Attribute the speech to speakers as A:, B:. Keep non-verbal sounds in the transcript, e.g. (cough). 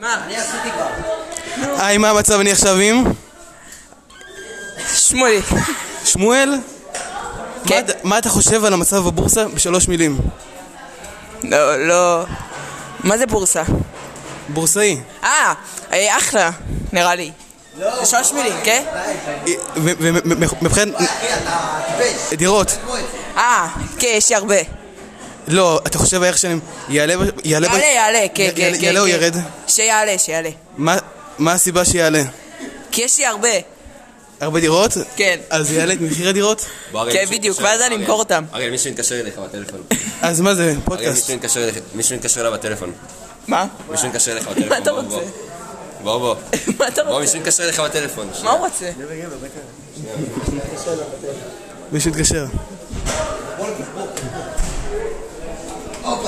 A: מה? אני עשיתי כבר.
B: היי, אה, מה המצב אני עכשיו עם?
A: שמולי.
B: שמואל?
A: כן.
B: מה אתה- מה אתה חושב על המצב בבורסה בשלוש מילים?
A: לא, לא. מה זה בורסה?
B: בורסאי.
A: אה, אה, אחלה, נראה לי. לא. שלוש מילים, כן?
B: ומבחינת... דירות.
A: אה, כן, יש לי הרבה.
B: לא, אתה חושב הערך שלהם יעלה... ב- יעלה, ב-
A: יעלה, יעלה, כן,
B: יע-
A: כן, כן.
B: יעלה או
A: כן.
B: ירד?
A: שיעלה, שיעלה.
B: מה- מה הסיבה שיעלה?
A: כי יש לי הרבה.
B: הרבה דירות?
A: כן.
B: אז יעלה את מחיר הדירות?
C: בארץ
A: כן,
C: מישהו
A: בדיוק,
C: מתקשר
A: ואז אני
C: אליך,
A: אמכור
C: אריאל.
A: אותם.
C: אריאל, מישהו מתקשר אליך
A: (laughs)
C: בטלפון.
B: אז מה זה?
C: אריאל,
B: פודקאסט.
A: אוקיי,
C: מישהו מתקשר אליך- מישהו מתקשר אליו בטלפון.
A: מה?
C: מישהו מתקשר אליך בטלפון.
A: מה אתה
C: בוא, בוא.
A: רוצה?
C: בוא, בוא.
A: (laughs) מה אתה
C: בוא,
A: רוצה?
C: מישהו מתקשר אליך בטלפון.
A: מה הוא רוצה?
B: מישהו יתקשר.